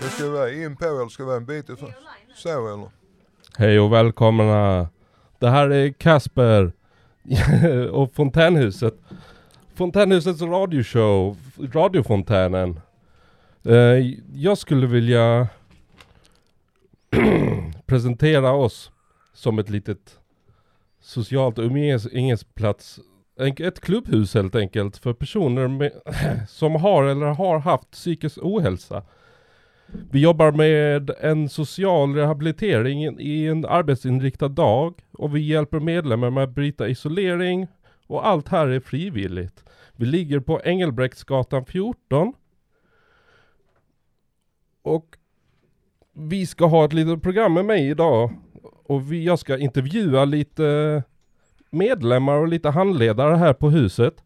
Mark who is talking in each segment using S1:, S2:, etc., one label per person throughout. S1: Det ska vara in på eller ska vara en bit ifrån? Så eller?
S2: Hej och välkomna! Det här är Kasper och Fontänhuset. Fontänhusets radioshow, Radiofontänen. Eh, jag skulle vilja presentera oss som ett litet socialt umgänges- umgängesplats. En- Ett klubbhus helt enkelt för personer med, som har eller har haft psykisk ohälsa. Vi jobbar med en social rehabilitering i en arbetsinriktad dag och vi hjälper medlemmar med att bryta isolering och allt här är frivilligt. Vi ligger på Engelbrektsgatan 14 och vi ska ha ett litet program med mig idag och vi, jag ska intervjua lite medlemmar och lite handledare här på huset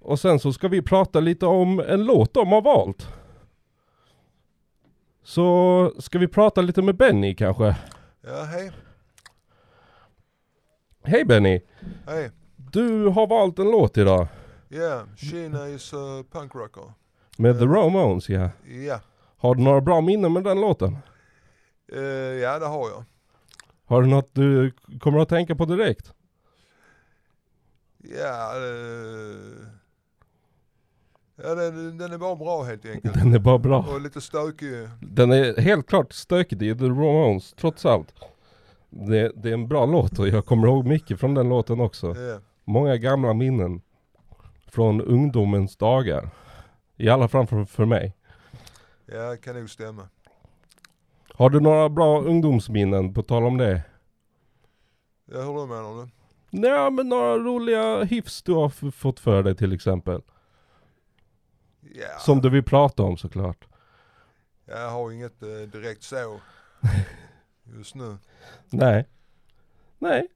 S2: och sen så ska vi prata lite om en låt de har valt. Så ska vi prata lite med Benny kanske?
S1: Ja, hej.
S2: Hej Benny!
S1: Hej.
S2: Du har valt en låt idag
S1: Ja, Kina is a punk rocker.
S2: med The Ramones ja.
S1: Eh, Ja.
S2: Har du några bra minnen med den låten?
S1: Eh, ja, det har jag.
S2: Har du något du kommer att tänka på direkt?
S1: Ja, eh, ja den, den är bara bra helt enkelt.
S2: Den är bara bra.
S1: Och lite stökig.
S2: Den är helt klart stökig, det är The Ramones trots allt. Det, det är en bra låt och jag kommer ihåg mycket från den låten också.
S1: Ja.
S2: Många gamla minnen från ungdomens dagar. I alla fall för, för mig.
S1: ja, kan nog stämma.
S2: Har du några bra ungdomsminnen på tal om det?
S1: Ja, hur då menar du?
S2: Nej men några roliga hyfs du har f- fått för dig till exempel.
S1: Ja,
S2: Som du vill prata om såklart.
S1: jag har inget eh, direkt så. Just nu.
S2: Nej. Nej,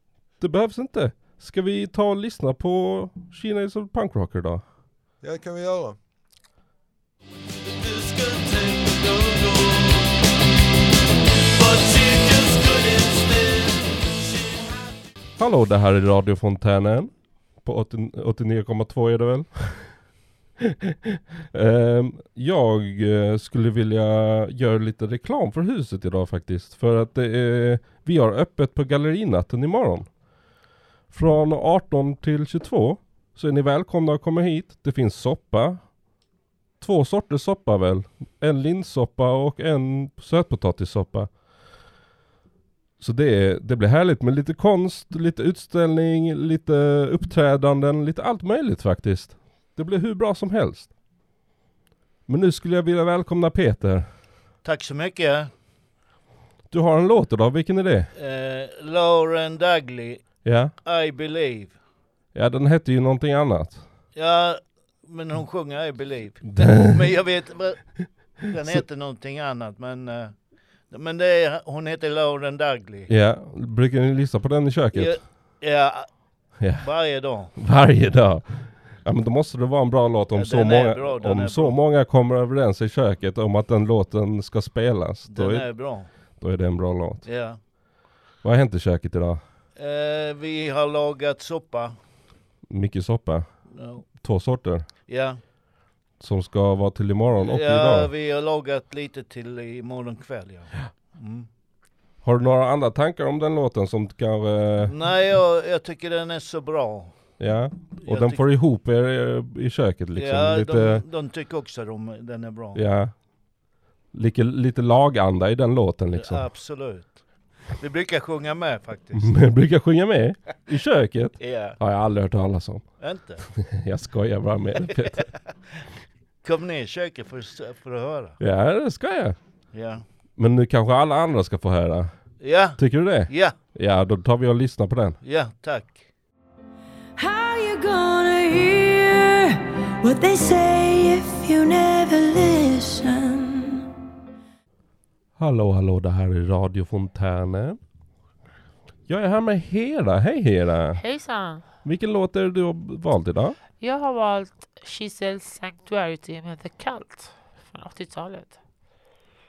S2: det behövs inte. Ska vi ta och lyssna på Kina is a punk rocker då?
S1: Ja, det kan vi göra.
S2: Hallå, det här är Radio Fontänen. På 80 89,2 är det väl? Ehm, jag eh, skulle vilja göra lite reklam för huset idag faktiskt. För att det är, vi har öppet på gallerinatten imorgon. Från 18 till 22. Så är ni välkomna att komma hit. Det finns soppa. Två sorters soppa väl? En linssoppa och en sötpotatissoppa. Så det, det blir härligt med lite konst, lite utställning, lite uppträdanden, lite allt möjligt faktiskt. Det blir hur bra som helst. Men nu skulle jag vilja välkomna Peter.
S3: Tack så mycket.
S2: Du har en låt idag, vilken är det?
S3: Eh, Lauren Dudley,
S2: Ja,
S3: I Believe.
S2: ja den hette ju någonting annat.
S3: Ja, men hon sjunger I Believe. Men jag vet, vad- den heter någonting annat men... eh, Men det är, hon heter Lauren Dudley.
S2: Ja, brukar ni lyssna på den i köket?
S3: Ja, ja,
S2: Ja.
S3: varje dag.
S2: Varje dag. Ja men då måste det vara en bra låt om,
S3: Ja,
S2: så,
S3: den är
S2: många,
S3: bra, den är
S2: om så
S3: bra.
S2: många kommer överens i köket om att den låten ska spelas. Då
S3: Den
S2: är,
S3: är bra.
S2: då är det en bra låt.
S3: Ja.
S2: Vad har hänt i köket idag?
S3: Eh, vi har lagat soppa.
S2: Mycket soppa.
S3: Ja.
S2: Två sorter.
S3: Ja,
S2: som ska vara till imorgon och
S3: ja
S2: idag.
S3: vi har lagat lite till imorgon kväll. Ja. Mm.
S2: Har du några andra tankar om den låten som kanske...
S3: Nej, jag, jag tycker den är så bra.
S2: Ja, och
S3: Jag
S2: den
S3: tyck-
S2: får ihop er eh, i köket liksom.
S3: ja,
S2: lite,
S3: de, de tycker också de, den är bra.
S2: ja. Lite, lite laganda i den låten liksom.
S3: Absolut. Vi brukar sjunga med faktiskt.
S2: Men jag brukar sjunga med i köket.
S3: Ja,
S2: Har jag aldrig hört talas om.
S3: inte?
S2: Jag skojar bara med dig Peter.
S3: Kom ner i köket för, att- för att höra.
S2: Ja, det ska jag.
S3: Ja.
S2: Men nu kanske alla andra ska få höra.
S3: Ja,
S2: Tycker du det?
S3: ja,
S2: Ja, då tar vi och lyssnar på den.
S3: ja, tack.
S4: How you gonna hear what they say if you never listen?
S2: Hallå, hallå, det här är Radio Fontänen. Jag är här med Hera. Hej Hera!
S5: Hejsan!
S2: Vilken låt är det du har valt idag?
S5: Jag har valt She Sells Sanctuary med The Cult från 80-talet.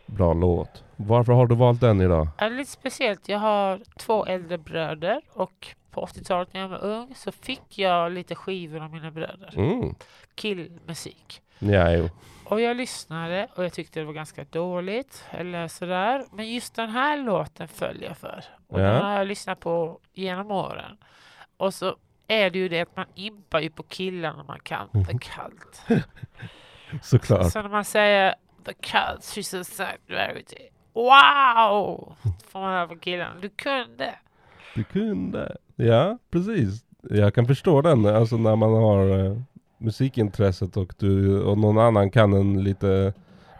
S2: Bra låt. Varför har du valt den idag?
S5: Ja, det är lite speciellt. Jag har två äldre bröder och på 80-talet när jag var ung så fick jag lite skivor av mina bröder.
S2: Mm.
S5: Killmusik.
S2: Ja, jo.
S5: Och jag lyssnade och jag tyckte det var ganska dåligt eller sådär. Men just den här låten föll jag för. Och
S2: Ja.
S5: den har jag lyssnat på genom åren. Och så är det ju det att man impar ju på killarna man kan.
S2: Mm.
S5: The cult.
S2: Såklart.
S5: Så när man säger the cult, she's a sanctuary. Wow! Får man höra på killarna. Du kunde.
S2: Du kunde. Ja, precis. Jag kan förstå den. Alltså när man har eh, musikintresset och, du, och någon annan kan en lite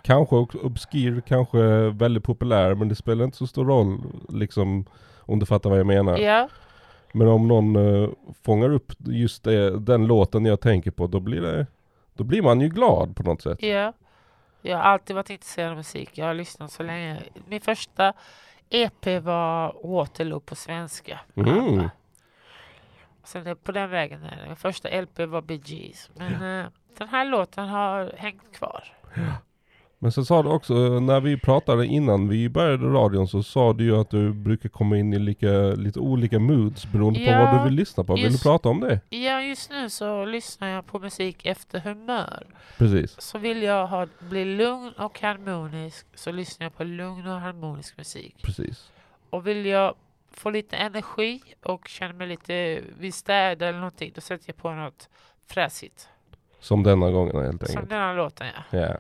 S2: Kanske också obskyr, kanske väldigt populär men det spelar inte så stor roll liksom om du fattar vad jag menar.
S5: Ja.
S2: Men om någon eh, fångar upp just det, den låten jag tänker på då blir det Då blir man ju glad på något sätt.
S5: Ja. Jag har alltid varit intresserad av musik. Jag har lyssnat så länge. Min första EP var Waterloo på svenska. med
S2: Mm.
S5: ABBA. Sen det, på den vägen är det. Min första LP var Bee Gees. Men eh, den här låten har hängt kvar.
S2: Men sen sa du också, eh, när vi pratade innan vi började radion så sa du ju att du brukar komma in i lika, lite olika moods beroende på
S5: Ja,
S2: vad du vill lyssna på. Vill du
S5: just-
S2: prata om det?
S5: Ja, just nu så lyssnar jag på musik efter humör.
S2: Precis.
S5: Så vill jag ha, bli lugn och harmonisk så lyssnar jag på lugn och harmonisk musik.
S2: Precis.
S5: Och vill jag få lite energi och känna mig lite vid städa eller någonting, då sätter jag på något fräsigt.
S2: Som denna gången helt enkelt.
S5: Som den här låten, ja.
S2: Ja.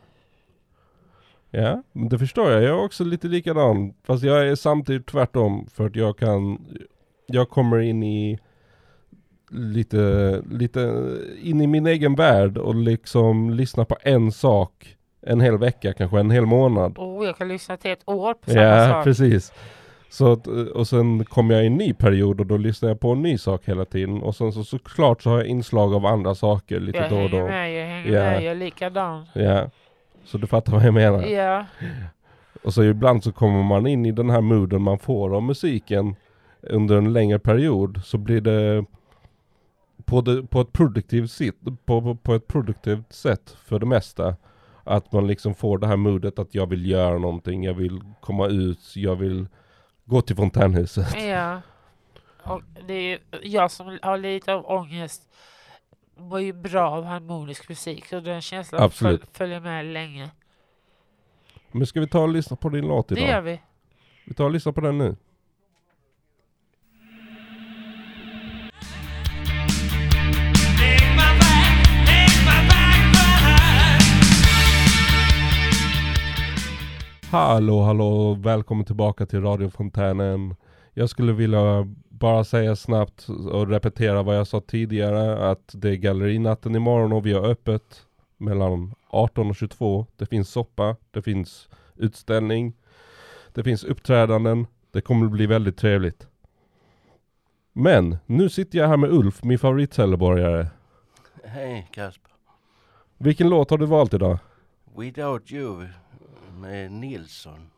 S2: Ja, men det förstår jag. Jag är också lite likadan. Fast jag är samtidigt tvärtom. För att jag kan... Jag kommer in i... Lite, lite in i min egen värld och liksom lyssna på en sak en hel vecka, kanske en hel månad.
S5: Oh, jag kan lyssna till ett år på samma
S2: Ja,
S5: sak.
S2: precis. Så att, eh, och sen kommer jag i en ny period och då lyssnar jag på en ny sak hela tiden. Och sen så såklart så har jag inslag av andra saker lite
S5: Jag
S2: då och
S5: hänger
S2: då.
S5: med, jag hänger
S2: Ja.
S5: med, jag är likadan.
S2: Ja. Så du fattar vad jag menar?
S5: Ja,
S2: Och så ibland så kommer man in i den här mooden man får av musiken under en längre period så blir det på, det, på, ett, produktivt sit, på, på, på ett produktivt sätt för det mesta. Att man liksom får det här moodet att jag vill göra någonting, jag vill komma ut, jag vill gå till fontänhuset.
S5: ja. Och det är ju, jag som har lite av ångest mår ju bra av harmonisk musik. Så den känslan föl,
S2: Absolut.
S5: följer med länge.
S2: Men ska vi ta och lyssna på din låt
S5: Det gör
S2: idag?
S5: vi.
S2: Vi tar och lyssnar på den nu. Hallå, hallå, välkommen tillbaka till Radio Fontänen. Jag skulle vilja bara säga snabbt och repetera vad jag sa tidigare, att det är gallerinatten imorgon och vi har öppet mellan 18 och 22. Det finns soppa, det finns utställning, det finns uppträdanden. Det kommer att bli väldigt trevligt. Men, nu sitter jag här med Ulf, min favoritcelleborgare.
S6: Hej Kasper.
S2: Vilken låt har du valt idag?
S6: Without you med Nilsson.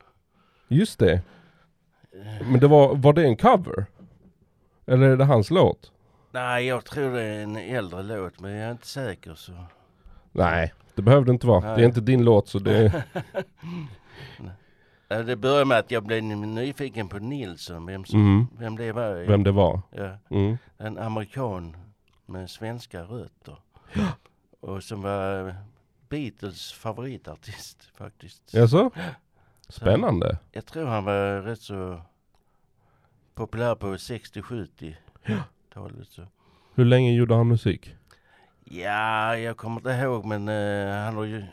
S2: Just det. Men det var, var det en cover? Eller är det hans låt?
S6: Nej, jag tror det är en äldre låt men jag är inte säker så.
S2: Nej, det behöver det inte vara. Det är
S6: Nej.
S2: inte din låt så det...
S6: Ja, Det började med att jag blev nyfiken på Nilsson, vem, som,
S2: Mm,
S6: vem det var.
S2: vem det var.
S6: Ja,
S2: Mm.
S6: en amerikan med svenska rötter. Och som var Beatles favoritartist faktiskt.
S2: Jaså? Spännande.
S6: Eh, Jag tror han var rätt så populär på 60-70-talet. så.
S2: Hur länge gjorde han musik?
S6: Ja, jag kommer inte ihåg men eh, han har ju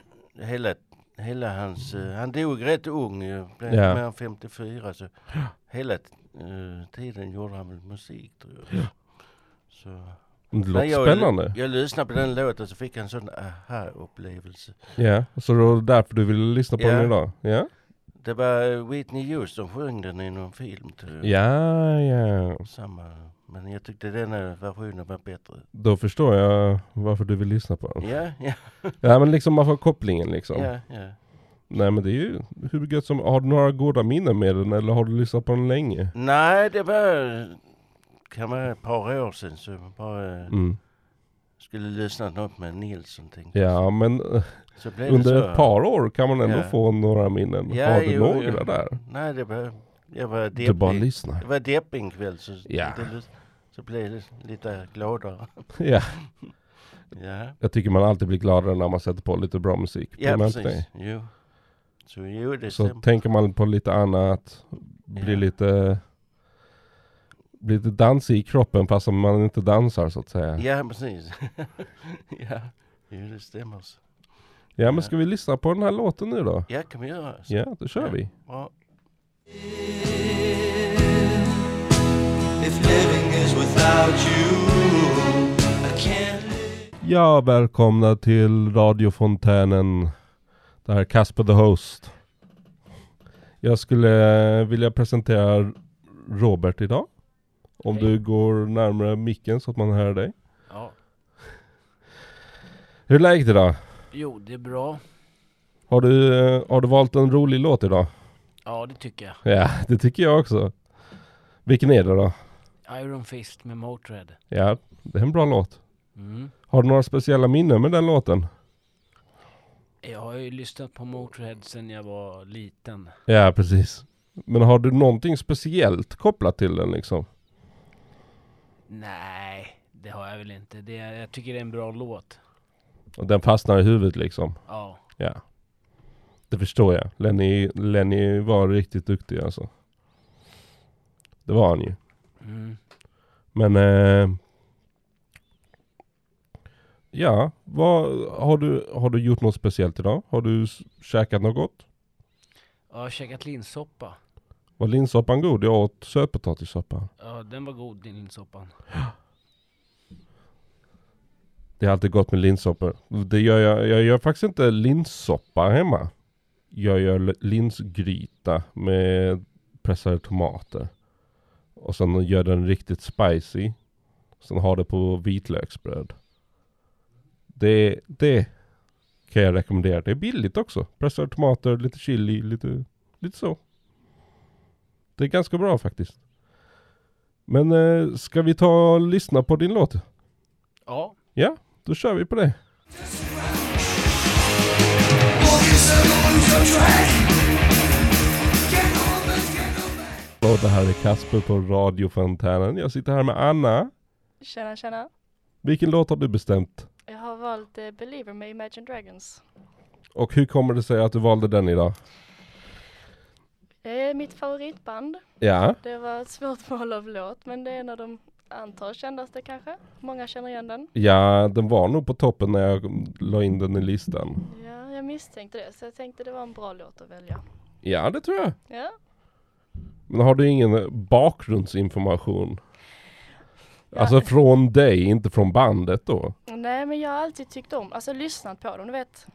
S6: hela, hela hans, eh, han dog rätt ung, uh, blev
S2: Ja.
S6: yeah. mer än 54 så hela eh, tiden gjorde han väl musik tror jag. Så,
S2: Det
S6: Nej,
S2: låter
S6: jag,
S2: spännande.
S6: Jag lyssnade på den låten så fick jag en sån eh, aha-upplevelse.
S2: Ja, så det var därför du ville lyssna på
S6: Ja.
S2: den idag? Ja.
S6: Det var Whitney Houston sjöng den i någon film tror jag.
S2: Ja, ja.
S6: Samma, men jag tyckte den här versionen var bättre.
S2: Då förstår jag varför du vill lyssna på den.
S6: Ja, ja,
S2: Ja men liksom man får kopplingen liksom.
S6: ja, ja.
S2: Nej men det är ju hur gött som... Har du några goda minnen med den eller har du lyssnat på den länge?
S6: Nej, det var kan vara ett par år sedan så bara
S2: Mm.
S6: skulle lyssna upp med Nilsson tänkte jag.
S2: Ja men eh,
S6: Så blev det
S2: under
S6: så.
S2: ett par år kan man ändå
S6: Ja.
S2: få några minnen.
S6: Ja,
S2: Har du
S6: jo,
S2: några
S6: jo.
S2: där?
S6: Nej, det var, jag var
S2: Du bara
S6: deppig.
S2: lyssnar.
S6: Det var deppig en kväll så,
S2: Ja.
S6: det- så blev jag lite gladare.
S2: Ja,
S6: Ja,
S2: jag tycker man alltid blir gladare när man sätter på lite bra musik. på
S6: ja
S2: en
S6: precis.
S2: öppning.
S6: Jo. Så jo, det
S2: Så
S6: stämmer.
S2: tänker man på lite annat, blir
S6: Ja.
S2: lite blir lite dansig i kroppen fast om man inte dansar så att säga.
S6: Ja, precis. ja, jo, det stämmer. så.
S2: Ja men
S6: Ja.
S2: ska vi lyssna på den här låten nu då?
S6: Ja, kan vi göra. Så.
S2: Ja, då kör
S6: Ja.
S2: vi.
S6: Bra.
S7: If living is without you, I can't
S2: Ja, välkomna till Radio Fontänen. Det här är Casper the Host. Jag skulle eh, vilja presentera Robert idag. Om
S5: Hej.
S2: du går närmare micken så att man hör dig.
S8: Ja,
S2: Hur är läget idag?
S8: jo det är bra.
S2: Har du, eh, har du valt en rolig låt idag?
S8: Ja det tycker jag.
S2: Ja, det tycker jag också. Vilken är det då?
S8: Iron Fist med Motörhead.
S2: Ja, det är en bra låt.
S8: Mm.
S2: Har du några speciella minnen med den låten?
S8: Jag har ju lyssnat på Motörhead sedan jag var liten.
S2: Ja, precis. Men har du någonting speciellt kopplat till den liksom?
S8: Nej, det har jag väl inte. Det, är- jag tycker det är en bra låt.
S2: Och den fastnar i huvudet liksom?
S8: Ja,
S2: Ja. Det förstår jag. Lenny, Lenny var riktigt duktig alltså. Det var han ju.
S8: mm.
S2: Men... Eh, ja, vad, har, du, har du gjort något speciellt idag? Har du s- käkat något gott?
S8: jag har käkat linssoppa.
S2: Var linssoppan god? Jag åt sötpotatissoppa.
S8: Ja, den var god din linssoppan.
S2: Det är alltid gott med linssoppor. Det gör jag, jag gör faktiskt inte linssoppa hemma. Jag gör l- linsgryta med pressade tomater. Och sen gör den riktigt spicy. Sen har det på vitlöksbröd. Det, det kan jag rekommendera. Det är billigt också. Pressade tomater, lite chili, lite, lite så. Det är ganska bra faktiskt. Men eh, ska vi ta och lyssna på din låt?
S8: Ja,
S2: Ja, då kör vi på det. Och det här är Kasper på Radio Fontänen. Jag sitter här med Anna.
S9: Tjena, tjena.
S2: Vilken låt har du bestämt?
S9: Jag har valt eh, Believer med Imagine Dragons.
S2: Och hur kommer det sig att du valde den idag?
S9: Det är mitt favoritband.
S2: Ja,
S9: Det var ett svårt val av låt, men det är en av de antar kändaste kanske. Många känner igen den.
S2: ja den var nog på toppen när jag la in den i listan.
S9: Ja, jag misstänkte det, så jag tänkte det var en bra låt att välja.
S2: Ja, det tror jag.
S9: Ja,
S2: Men har du ingen bakgrundsinformation?
S9: Ja.
S2: Alltså från dig, inte från bandet då?
S9: nej men jag har alltid tyckt om, alltså lyssnat på dem, du vet.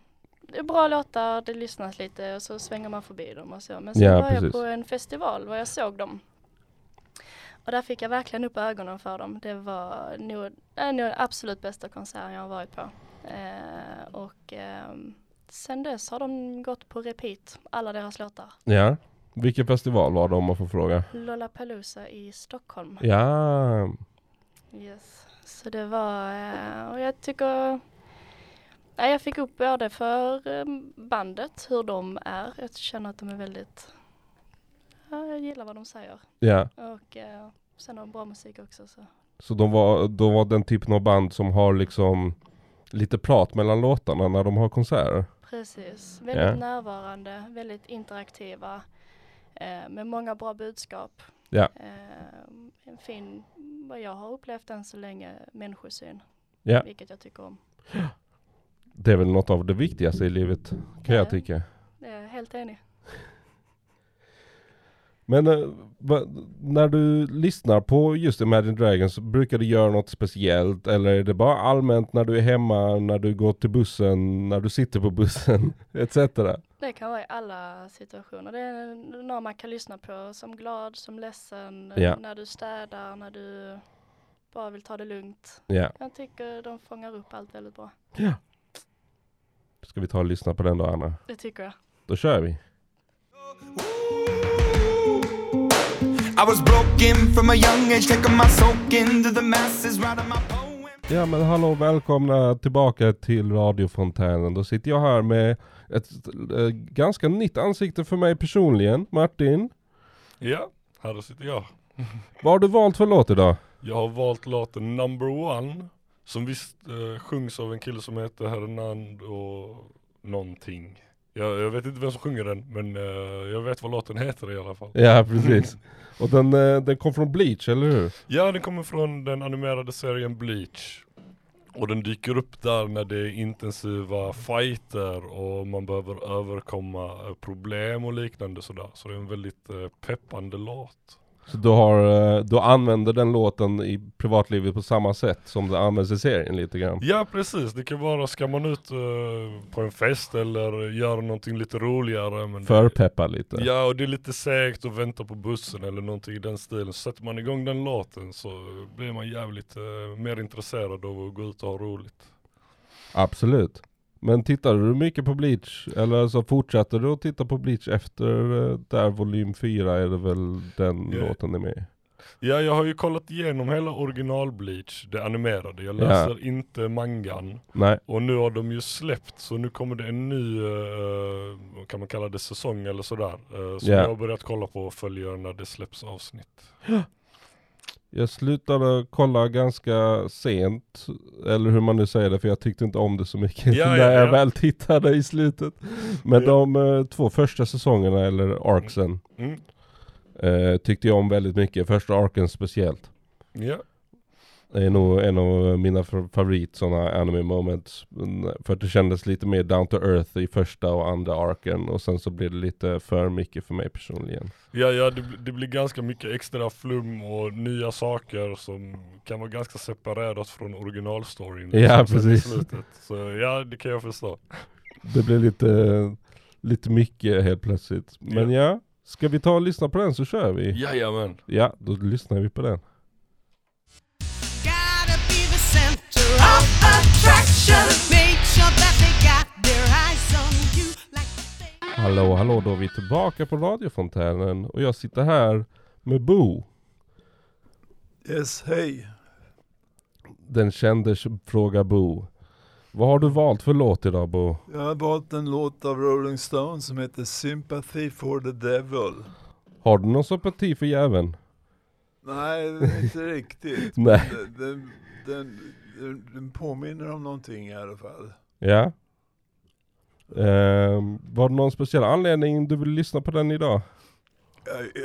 S9: Det är bra låtar, det lyssnas lite och så svänger man förbi dem och så. Men sen
S2: Ja,
S9: var
S2: precis.
S9: jag på en festival var jag såg dem. Och där fick jag verkligen upp ögonen för dem. Det var nog, det är nog den absolut bästa konserten jag har varit på. Eh, och ehm, sen dess har de gått på repeat, alla deras låtar.
S2: Ja. Vilken festival var det om man får fråga?
S9: Lollapalooza i Stockholm.
S2: Ja,
S9: Yes. Så det var, eh, och jag tycker, ja, jag fick upp både för eh, bandet, hur de är. Jag känner att de är väldigt, ja, jag gillar vad de säger.
S2: ja.
S9: Och eh, sen har de bra musik också. Så.
S2: Så de var, de var den typen av band som har liksom lite prat mellan låtarna när de har konserter? Mm.
S9: Precis, väldigt närvarande, väldigt interaktiva, eh, med många bra budskap.
S2: Ja.
S9: Eh, en fin, vad jag har upplevt än så länge, människosyn.
S2: Ja.
S9: Vilket jag tycker om.
S2: Det är väl något av det viktigaste i livet, kan jag
S9: Ja.
S2: tycka.
S9: Jag är helt enig.
S2: Men eh, va, när du lyssnar på just Imagine Dragons, brukar du göra något speciellt? Eller är det bara allmänt när du är hemma, när du går till bussen, när du sitter på bussen, etc?
S9: Det kan vara i alla situationer. Det är någon man kan lyssna på som glad, som ledsen,
S2: Ja.
S9: när du städar, när du bara vill ta det lugnt.
S2: Ja.
S9: Jag tycker de fångar upp allt väldigt bra.
S2: Ska vi ta och lyssna på den då, Anna?
S9: Det tycker jag.
S2: Då kör vi!
S7: I was broken from a young age, taking my soak into the masses, writing my poem.
S2: Ja men hallå välkomna tillbaka till radiofontänen. Då sitter jag här med ett eh, ganska nytt ansikte för mig personligen. Martin,
S10: Ja, här sitter jag.
S2: vad har du valt för låt idag?
S10: Jag har valt låten Number One som visst eh, sjungs av en kille som heter Hernando någonting. Jag, jag vet inte vem som sjunger den men eh, jag vet vad låten heter i alla fall. Mm.
S2: Ja precis. Och den, eh, den kom från Bleach, eller hur?
S10: Ja, den kommer från den animerade serien Bleach. Och den dyker upp där när det är intensiva fighter och man behöver överkomma eh, problem och liknande sådär. Så det är en väldigt eh, peppande låt.
S2: Så du, har, eh, du använder den låten i privatlivet på samma sätt som det används i serien lite grann.
S10: Ja precis, det kan vara ska man ut eh, på en fest eller göra någonting lite roligare. Men det,
S2: Förpeppa lite.
S10: ja, och det är lite segt att vänta på bussen eller någonting i den stilen. Så sätter man igång den låten så blir man jävligt eh, mer intresserad av att gå ut och ha roligt.
S2: Absolut. Men tittade du mycket på Bleach? Eller så fortsatte du att titta på Bleach efter eh, där volym 4 är det väl den
S10: Ja.
S2: låten är med i?
S10: Ja, jag har ju kollat igenom hela original Bleach, det animerade. Jag
S2: Ja.
S10: läser inte mangan.
S2: Nej.
S10: Och nu har de ju släppt, så nu kommer det en ny, eh, vad kan man kalla det, säsong eller sådär. Uh, som
S2: Ja.
S10: jag har börjat kolla på och följer när det släpps avsnitt.
S2: Jag slutade kolla ganska sent, eller hur man nu säger det, för jag tyckte inte om det så mycket
S10: Ja,
S2: när
S10: ja,
S2: jag
S10: ja.
S2: väl tittade i slutet. Men
S10: Ja.
S2: de eh, två första säsongerna, eller arksen,
S10: Mm.
S2: eh, tyckte jag om väldigt mycket. Första arken speciellt.
S10: Ja,
S2: Det är nog en av mina fa- favorit sådana anime moments. Mm, För att det kändes lite mer down to earth i första och andra arken. Och sen så blev det lite för mycket för mig personligen.
S10: ja, ja det, det blir ganska mycket extra flum och nya saker som kan vara ganska separerat från originalstoryn.
S2: Ja,
S10: som sätts i
S2: precis.
S10: slutet. Så ja, det kan jag förstå.
S2: Det blev lite, lite mycket helt plötsligt. Men ja. ska vi ta och lyssna på den så kör vi.
S10: Jajamän.
S2: Ja, då lyssnar vi på den.
S11: gotta be the center of attraction. Make sure that they got their eyes on you.
S2: Hallå, hallå, då är vi tillbaka på radiofontänen. Och jag sitter här med Bo.
S12: Yes, hej.
S2: Den kändes fråga Bo. Vad har du valt för låt idag Bo?
S12: Jag har valt en låt av Rolling Stones som heter Sympathy for the Devil.
S2: Har du någon sympati för jäveln?
S12: Nej, inte riktigt. men
S2: Nej.
S12: Den, den, den, den påminner om någonting i alla fall.
S2: Ja. Ehm, var det någon speciell anledning du vill lyssna på den idag?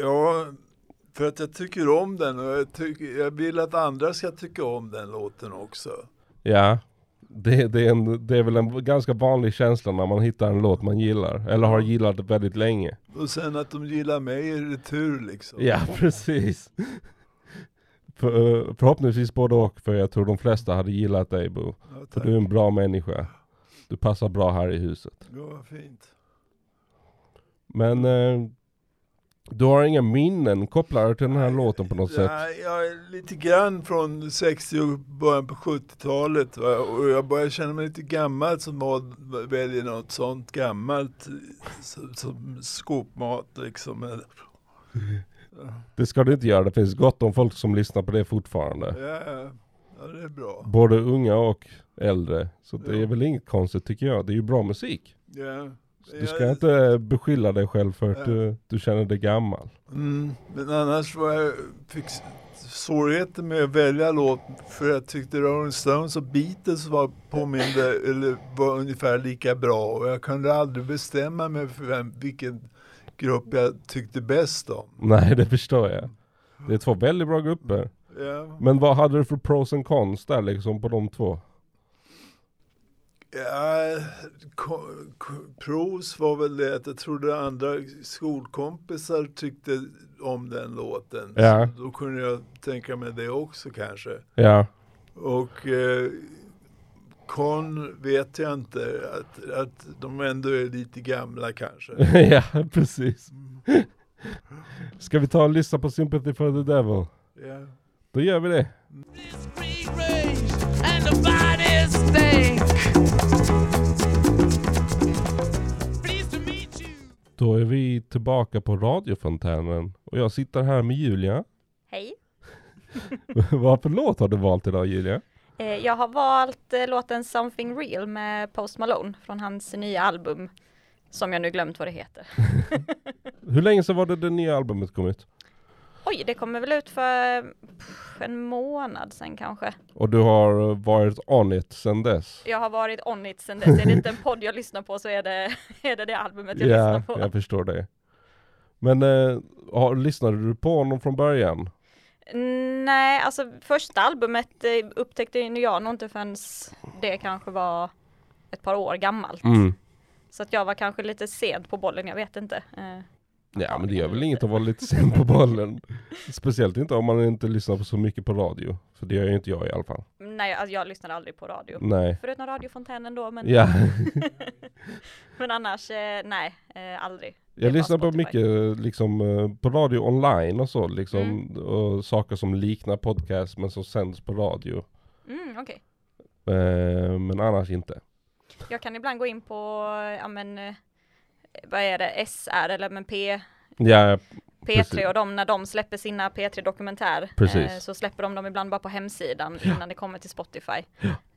S12: Ja, för att jag tycker om den och jag, tycker, jag vill att andra ska tycka om den låten också.
S2: Ja. Det, det, är en, det är väl en ganska vanlig känsla när man hittar en låt man gillar, eller har gillat väldigt länge.
S12: Och sen att de gillar mig i retur liksom.
S2: Ja, precis. För, eh, förhoppningsvis både och, för jag tror de flesta hade gillat dig Bo. för du är en bra människa. Du passar bra här i huset.
S12: Ja, vad fint.
S2: Men eh, du har inga minnen kopplade till den här låten på något sätt?
S12: Ja, jag är lite grann från 60 och början på 70-talet va? och jag börjar känna mig lite gammal som vad- väljer något sånt gammalt som, som skåpmat liksom. eller-
S2: Det ska du inte göra, det finns gott om folk som lyssnar på det fortfarande.
S12: Ja, ja, det är bra.
S2: Både unga och äldre. Så det är väl inget konstigt tycker jag. Det är ju bra musik.
S12: Ja.
S2: Så du ska inte beskylla dig själv för att du, du känner dig gammal.
S12: Mm, men annars var jag, fick s- svårigheter med att välja låt för jag tyckte Rolling Stones och Beatles var påminde eller var ungefär lika bra och jag kunde aldrig bestämma mig för vem, vilken grupp jag tyckte bäst om.
S2: Nej, det förstår jag. Det är två väldigt bra grupper.
S12: Ja.
S2: Men vad hade du för pros and cons där liksom på de två?
S12: Ja, ko- ko- pros var väl det att jag trodde andra skolkompisar tyckte om den låten.
S2: Ja.
S12: Så då kunde jag tänka mig det också kanske.
S2: Ja.
S12: Och eh, kon vet jag inte, att, att de ändå är lite gamla kanske.
S2: ja, precis.
S12: Mm.
S2: ska vi ta och lyssna på Sympathy for the Devil?
S12: Ja.
S2: Då gör vi det.
S11: And the bodies stink.
S2: Då är vi tillbaka på radiofontänen. Och jag sitter här med Julia.
S13: Hej.
S2: Vad för låt har du valt idag Julia?
S13: Eh, Jag har valt eh, låten Something Real med Post Malone från hans nya album som jag nu glömt vad det heter.
S2: Hur länge sedan var det det nya albumet kom ut?
S13: Oj, det kommer väl ut för eh, pff, en månad sen kanske.
S2: Och du har eh, varit on it sedan dess?
S13: Jag har varit on it sen dess. Är det inte en podd jag lyssnar på så är det är det, det albumet jag lyssnar
S2: Ja,
S13: på.
S2: jag förstår det. Men eh, har, lyssnade du på honom från början?
S13: Nej, alltså första albumet eh, upptäckte ju jag nog inte förrän det kanske var ett par år gammalt.
S2: Mm.
S13: Så att jag var kanske lite sent på bollen, jag vet inte. Eh,
S2: Ja, men det gör väl inget att vara lite sen på bollen. Speciellt inte om man inte lyssnar på så mycket på radio. För det gör ju inte jag i alla fall.
S13: nej, alltså jag lyssnade aldrig på radio.
S2: Nej.
S13: Förutom radiofontänen då, men...
S2: Ja.
S13: men annars, eh, nej, eh, aldrig.
S2: Jag lyssnar på mycket liksom, eh, på radio online och så, liksom, och saker som liknar podcast men som sänds på radio.
S13: Mm, okej.
S2: Eh, men annars inte.
S13: Jag kan ibland gå in på, eh, ja men, eh, vad är det, SR eller men P,
S2: Ja,
S13: P3 och de, när de släpper sina P3-dokumentär
S2: Precis.
S13: eh, så släpper de dem ibland bara på hemsidan innan det kommer till Spotify.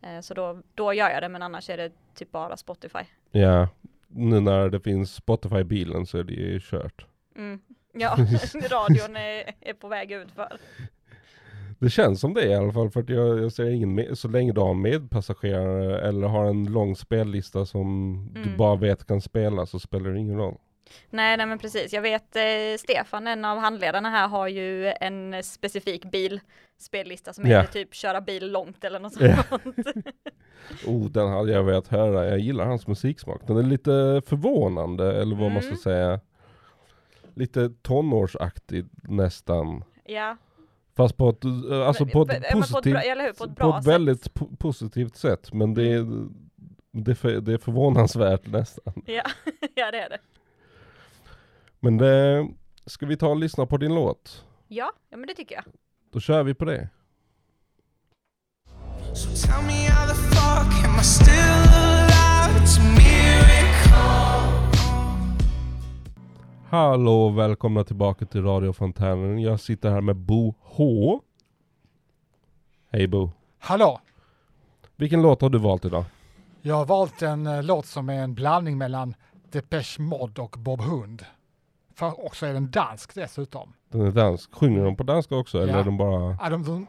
S13: Eh, så då, då gör jag det, men annars är det typ bara Spotify.
S2: ja, nu när det finns Spotify i bilen så är det ju kört.
S13: Mm. Ja, radion är, är på väg utför.
S2: Det känns som det i alla fall för att jag, jag ser ingen med, så länge du har en medpassagerare eller har en lång spellista som du
S13: Mm.
S2: bara vet kan spela så spelar det ingen roll.
S13: Nej, nej men precis. Jag vet eh, Stefan, en av handledarna här, har ju en specifik bilspellista som
S2: Ja.
S13: heter typ köra bil långt eller något
S2: Ja.
S13: sånt.
S2: Oh, den hade jag velat höra. Jag gillar hans musiksmak. Den är lite förvånande, eller vad man ska
S13: Mm.
S2: säga. Lite tonårsaktig nästan.
S13: ja.
S2: Fast på ett, eh, alltså
S13: Men-
S2: på
S13: men på
S2: ett
S13: ett
S2: positivt,
S13: bra- eller hur? På ett
S2: på
S13: bra
S2: ett
S13: sätt.
S2: väldigt po- positivt sätt. Men det är, det, är för, det är förvånansvärt nästan.
S13: ja, ja det är det.
S2: Men det, ska vi ta och lyssna på din låt?
S13: Ja, ja men det tycker jag.
S2: Då kör vi på det.
S11: So tell me how the fuck am I still alive? It's a miracle.
S2: Hallå och välkomna tillbaka till Radio Fontänen. Jag sitter här med Bo H. Hej Bo.
S14: Hallå!
S2: Vilken låt har du valt idag?
S14: Jag har valt en eh, låt som är en blandning mellan Depeche Mode och Bob Hund. För också är den dansk dessutom.
S2: Den är dansk. Sjunger de på danska också eller
S14: Ja.
S2: är de bara...
S14: Ja, de, de,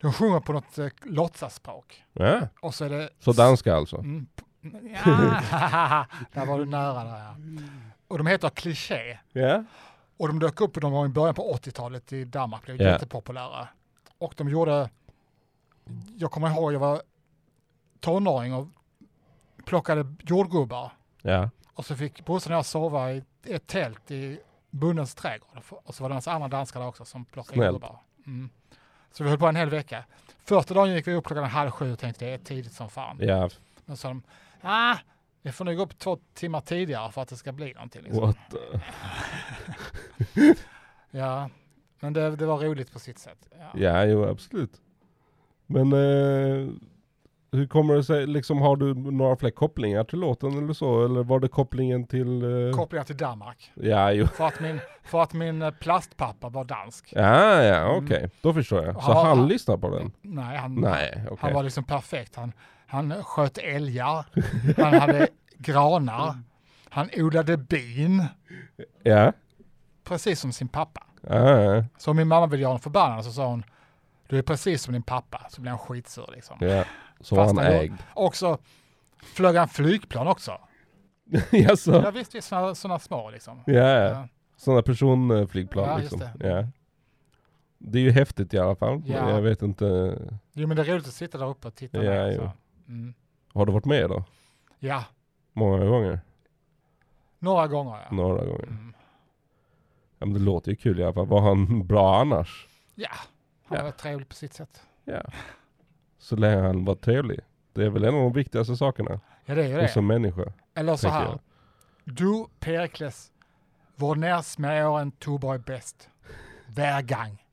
S14: de sjunger på något eh, låtsaspråk.
S2: Ja.
S14: Och så är det...
S2: Så danska alltså?
S14: Mm, p- ja, där var du nära där ja. Och de heter Cliché.
S2: Ja.
S14: Och de dök upp de var i början på 80-talet i Danmark, blev
S2: Ja.
S14: jättepopulära. Och de gjorde, jag kommer ihåg jag var tonåring och plockade jordgubbar.
S2: Ja.
S14: Och så fick brorsan och jag sova i ett tält i bondens trädgård. Och så var det hans andra danskar där också som plockade
S2: Snällt.
S14: jordgubbar. Mm. Så vi höll på en hel vecka. Första dagen gick vi upp klockan halv sju och tänkte det är tidigt som fan.
S2: Ja.
S14: Men så sa de, ah, vi får nog gå upp två timmar tidigare för att det ska bli någonting. Liksom.
S2: What the-
S14: Ja, men det, det var roligt på sitt sätt. Ja.
S2: Ja, jo absolut. Men eh, hur kommer det sig, liksom har du några fler kopplingar till låten eller så? Eller var det kopplingen till... Eh...
S14: Kopplingar till Danmark.
S2: Ja, jo.
S14: För att min, för att min eh, plastpappa var dansk.
S2: Ja, Ah, ja, okej.
S14: Mm.
S2: Då förstår jag.
S14: Han
S2: Så
S14: var-
S2: han
S14: han-
S2: lyssnar på den?
S14: Nej, han,
S2: Nej, okej.
S14: han var liksom perfekt. Han, han sköt älgar, han hade granar, han odlade bin,
S2: Ja.
S14: precis som sin pappa.
S2: Ja, ja.
S14: Så om min mamma ville göra honom förbannad så sa hon, du är precis som din pappa. Så blev han skitsur liksom.
S2: ja. Så
S14: Fast
S2: han ägd.
S14: Och så flög han flygplan också.
S2: Jaså?
S14: Ja visst, visst sådana, sådana små liksom.
S2: Ja, ja. Sådana personflygplan
S14: Ja, just
S2: liksom.
S14: det.
S2: Ja. Det är ju häftigt i alla fall.
S14: Ja.
S2: Jag vet inte.
S14: Jo men det är roligt att sitta där uppe och titta.
S2: Ja,
S14: ner,
S2: jo.
S14: så. Mm.
S2: Har du varit med då?
S14: ja,
S2: Många gånger?
S14: några gånger ja. Mm.
S2: Några gånger? Ja men det låter ju kul i alla fall. Var han bra annars?
S14: Ja, han var trevlig på sitt sätt.
S2: Ja. Så länge han var trevlig. Det är väl en av de viktigaste sakerna.
S14: Ja, det är ju det.
S2: Och som människa.
S14: Eller så
S2: tänker
S14: här.
S2: jag.
S14: Du Perikles, vår närsmören Tuborg bäst. Hver gang.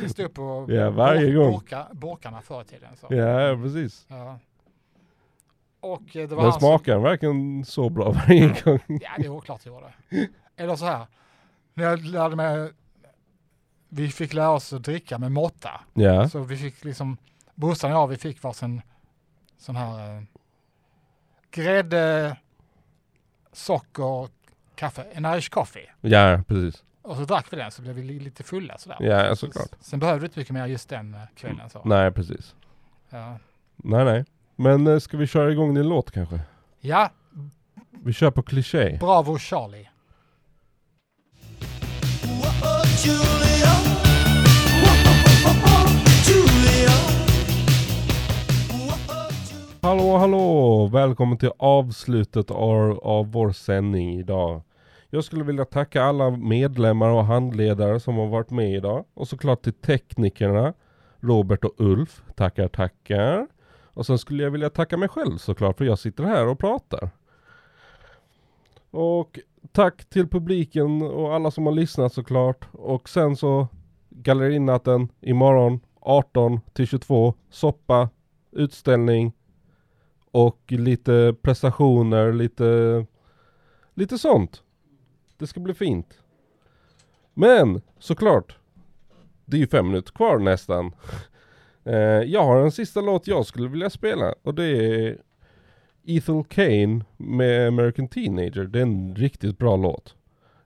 S14: Vi stod upp och
S2: Ja, varje gång.
S14: Borka, borkarna förr i tiden. Så.
S2: Ja, ja, precis.
S14: Ja. Och eh, det var
S2: Men
S14: han som-
S2: smakar den verkligen så bra varje gång?
S14: Ja, det är klart det gjorde. Eller så här, när jag lärde mig, vi fick lära oss att dricka med måtta.
S2: Ja.
S14: Så vi fick liksom brorsan och jag, vi fick varsin sån här eh, grädde, socker, kaffe, en Irish coffee.
S2: Ja, precis.
S14: Och så drack vi den så blev vi li- lite fulla sådär.
S2: Ja, ja, såklart. Mm.
S14: Sen behövde vi inte mycket mer just den eh, kvällen så.
S2: Nej, precis.
S14: Ja.
S2: Nej, nej. Men eh, ska vi köra igång din låt kanske?
S14: ja,
S2: Vi kör på kliché.
S14: bravo Charlie.
S2: Hallå, hallå! Välkommen till avslutet av, av vår sändning idag. Jag skulle vilja tacka alla medlemmar och handledare som har varit med idag. Och såklart till teknikerna, Robert och Ulf. Tackar, tackar. Och sen skulle jag vilja tacka mig själv såklart, för jag sitter här och pratar. Och tack till publiken och alla som har lyssnat såklart. Och sen så Gallerinatten imorgon 18 till 22. Soppa, utställning och lite prestationer, lite, lite sånt. Det ska bli fint. Men såklart, det är ju fem minuter kvar nästan. Eh, jag har en sista låt jag skulle vilja spela och det är Ethel Kane med American Teenager. Det är en riktigt bra låt.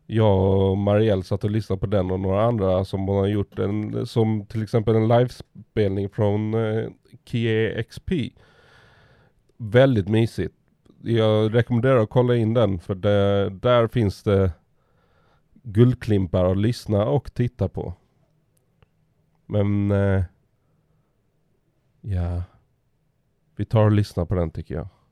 S2: Jag och Marielle satt och lyssnade på den och några andra som hon har gjort en, som till exempel en livespelning från eh, Kie XP. Väldigt mysigt. Jag rekommenderar att kolla in den för det, där finns det guldklimpar att lyssna och titta på. Men eh, ja, vi tar och lyssnar på den tycker jag.